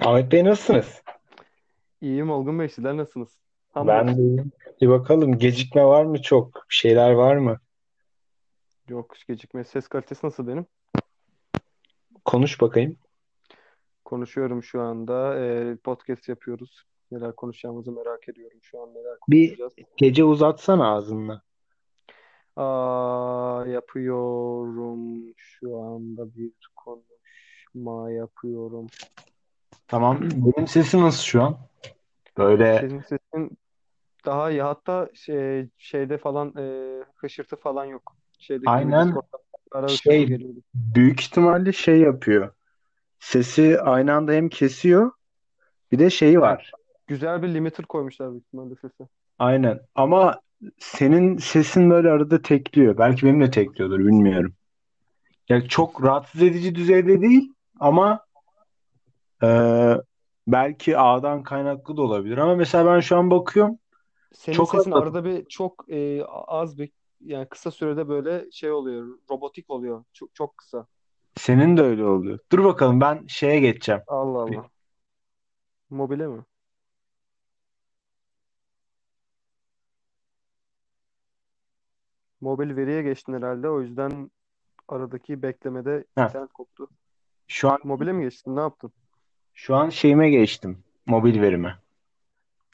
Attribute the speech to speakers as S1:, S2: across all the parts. S1: Ahmet Bey nasılsınız?
S2: İyiyim Olgun Bey, sizler nasılsınız?
S1: Ben
S2: Hamdolsun.
S1: de iyiyim. Bir bakalım gecikme var mı çok? Bir şeyler var mı?
S2: Yok hiç gecikme. Ses kalitesi nasıl benim?
S1: Konuş bakayım.
S2: Konuşuyorum şu anda. Ee, podcast yapıyoruz. Neler konuşacağımızı merak ediyorum şu an. Neler
S1: Bir
S2: konuşacağız?
S1: gece uzatsana ağzını.
S2: Aa, yapıyorum şu anda bir konuşma yapıyorum.
S1: Tamam. Hmm, Benim sesim nasıl şu an? Böyle
S2: Senin sesin daha iyi. Hatta şey, şeyde falan e, hışırtı falan yok. Şeydeki gibi
S1: aynen
S2: Discord'da ara hışırtı
S1: şey
S2: geliyordu.
S1: büyük ihtimalle şey yapıyor. Sesi aynı anda hem kesiyor bir de şeyi
S2: Evet.
S1: var.
S2: Güzel bir limiter koymuşlar büyük ihtimalle sese.
S1: Aynen. Ama senin sesin böyle arada tekliyor. Belki benim de tekliyordur bilmiyorum. Ya çok rahatsız edici düzeyde değil ama Ee, belki ağdan kaynaklı da olabilir ama mesela ben şu an bakıyorum
S2: Senin
S1: çok
S2: sesin
S1: hassas.
S2: arada bir çok e, az bir yani kısa sürede böyle şey oluyor, robotik oluyor. Çok çok kısa.
S1: Senin de öyle oluyor. Dur bakalım ben şeye geçeceğim.
S2: Allah
S1: Bir-
S2: Allah. Mobile mi? Mobil veriye geçtin herhalde. O yüzden aradaki beklemede
S1: Heh,
S2: internet koptu.
S1: şu an
S2: Mobile mi geçtin? Ne yaptın?
S1: şu an şeyime geçtim. Mobil verime.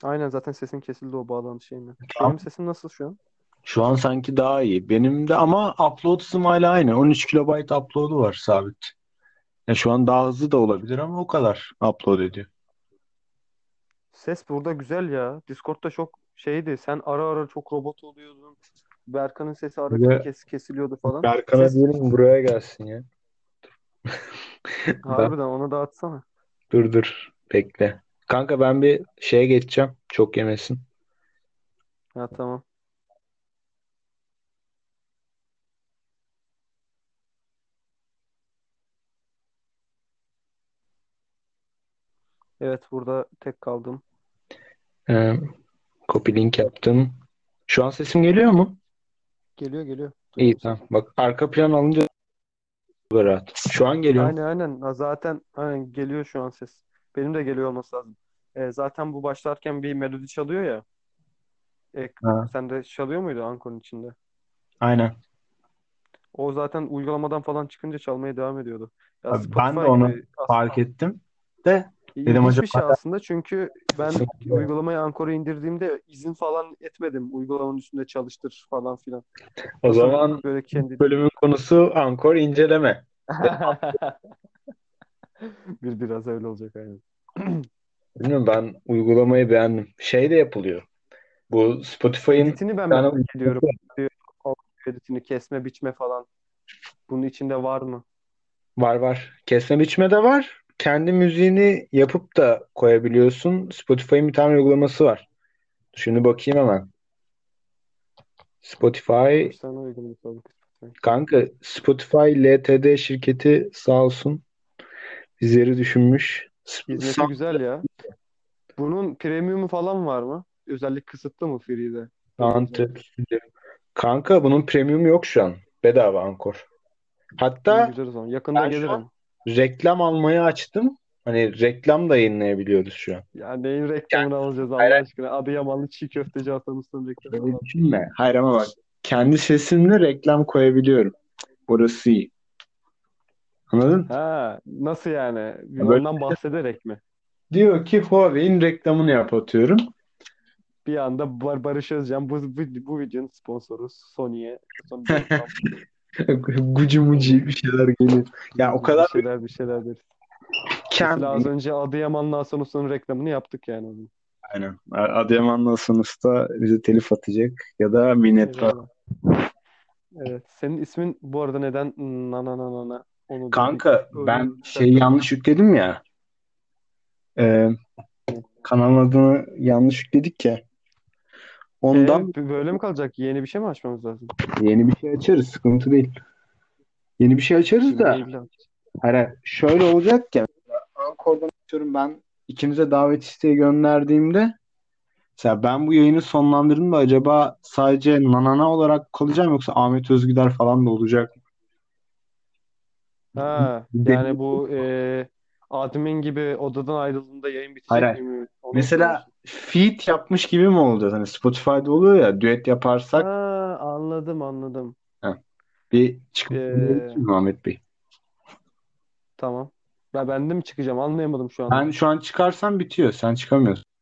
S2: Aynen zaten sesin kesildi o bağlantı şeyinden.
S1: Tamam.
S2: Benim sesim nasıl şu an?
S1: Şu an sanki daha iyi. Benim de ama upload hızım hala aynı. 13 kilobayt upload'u var sabit. Ya şu an daha hızlı da olabilir ama o kadar upload ediyor.
S2: Ses burada güzel ya. Discord'da çok şeydi. Sen ara ara çok robot oluyordun. Berkan'ın sesi ara
S1: Böyle
S2: kes kesiliyordu falan.
S1: Berkan'a
S2: Ses
S1: diyelim buraya gelsin ya. Ben
S2: harbiden ona dağıtsana.
S1: dur dur bekle. Kanka ben bir şeye geçeceğim. Çok yemesin.
S2: Ya tamam. Evet burada tek kaldım.
S1: Ee, Copy link yaptım. Şu an sesim geliyor mu?
S2: Geliyor geliyor.
S1: İyi
S2: Duydum seni.
S1: tamam. Bak arka plan alınca da rahat. Şu an geliyor mu?
S2: Aynen aynen. Ha, Zaten aynen geliyor şu an ses. Benim de geliyor olması lazım. E, zaten bu başlarken bir melodi çalıyor ya. E,
S1: Ha,
S2: sen de çalıyor muydu Ankor'un içinde?
S1: aynen.
S2: O zaten uygulamadan falan çıkınca çalmaya devam ediyordu. Ya
S1: Abi Ben de
S2: Spotify
S1: onu
S2: gibi as
S1: fark ettim. De dedim
S2: ilginç bir şey
S1: acaba
S2: aslında. Çünkü ben
S1: sesim geliyor mu?
S2: uygulamayı Ankor'a indirdiğimde izin falan etmedim. Uygulamanın üstünde çalıştır falan filan.
S1: O
S2: O sen
S1: zaman
S2: böyle
S1: bu
S2: kendi
S1: bölümün konusu Ankor inceleme. Devam.
S2: bir biraz öyle olacak aynen.
S1: Bilmiyorum ben uygulamayı beğendim. Şey de yapılıyor. Bu Spotify'ın
S2: Editini ben
S1: bir tane
S2: merak
S1: uygulaması
S2: ediyorum.
S1: var.
S2: Diyor, o Editini kesme, biçme falan. Bunun içinde var mı?
S1: Var var. Kesme biçme de var. Kendi müziğini yapıp da koyabiliyorsun. Spotify'ın bir tane uygulaması var. Şimdi bakayım hemen. Spotify
S2: Kaç tane uygulama sorduk?
S1: kanka Spotify LTD şirketi sağ olsun bizleri düşünmüş. Sp-
S2: Hizmeti
S1: Sa-
S2: güzel ya. Bunun premiumu falan var mı? Özellik kısıtlı mı Free'de? Öyle özellik.
S1: Antreprenör. Kanka bunun premium yok şu an. Bedava Ankor.
S2: İyi
S1: Hatta
S2: güzel o zaman. Yakında
S1: ben şu an
S2: gelirim.
S1: reklam almayı açtım. Hani reklam da yayınlayabiliyoruz şu an.
S2: Ya neyin reklamını
S1: Kendi
S2: alacağız Allah
S1: hayran
S2: aşkına? Adıyamanlı çiğ köfteci atamızın reklamını
S1: Öyle
S2: al.
S1: düşünme. Hayrama bak. Kendi sesimle reklam koyabiliyorum. Burası iyi. Anladın?
S2: Ha, nasıl yani? Bir
S1: Böyle
S2: Ondan bahsederek mi?
S1: diyor ki Huawei'in reklamını yap atıyorum.
S2: Bir anda Bar Barış Özcan bu, bu, bu videonun sponsoru Sony'ye Sony bir reklam
S1: Gucu mucu bir
S2: olur.
S1: şeyler geliyor. Ya o
S2: Bir
S1: kadar bir
S2: şeyler bir şeyler deriz. Mesela az
S1: kendi.
S2: önce Adıyaman'la Asanus'un reklamını yaptık yani.
S1: Aynen. Adıyaman'la sınıfta bize telif atacak ya da minnettar.
S2: Eyvallah. Evet. Senin ismin bu arada neden Nana Nana Nana onu da bir
S1: Kanka ben
S2: özür
S1: şeyi
S2: dilersen.
S1: yanlış yükledim ya. Ee, kanalın adını yanlış yükledik ya.
S2: E,
S1: Ondan
S2: böyle mi kalacak? Yeni bir şey mi açmamız lazım?
S1: yeni bir şey açarız. Sıkıntı değil. Yeni bir şey açarız
S2: Şimdi
S1: da
S2: neyi bile aç.
S1: hani şöyle olacak ya. Ankor'dan atıyorum ben ikimize davet isteği gönderdiğimde Mesela ben bu yayını sonlandırdım da acaba sadece Nanana olarak kalacağım yoksa Ahmet Özgüder falan da olacak mı?
S2: Ha,
S1: Belli
S2: yani bu e,
S1: değil.
S2: admin gibi odadan ayrıldığında yayın bitecek
S1: Hayır, hayır.
S2: gibi. Onu
S1: Mesela feed yapmış gibi mi oldu? Hani Spotify'da oluyor ya düet yaparsak
S2: Ha, anladım anladım.
S1: bir çıkıp
S2: Ee,
S1: Muhammed Bey.
S2: tamam. Ya ben de mi çıkacağım? Anlayamadım şu anda.
S1: Ben şu an çıkarsam bitiyor. Sen çıkamıyorsun.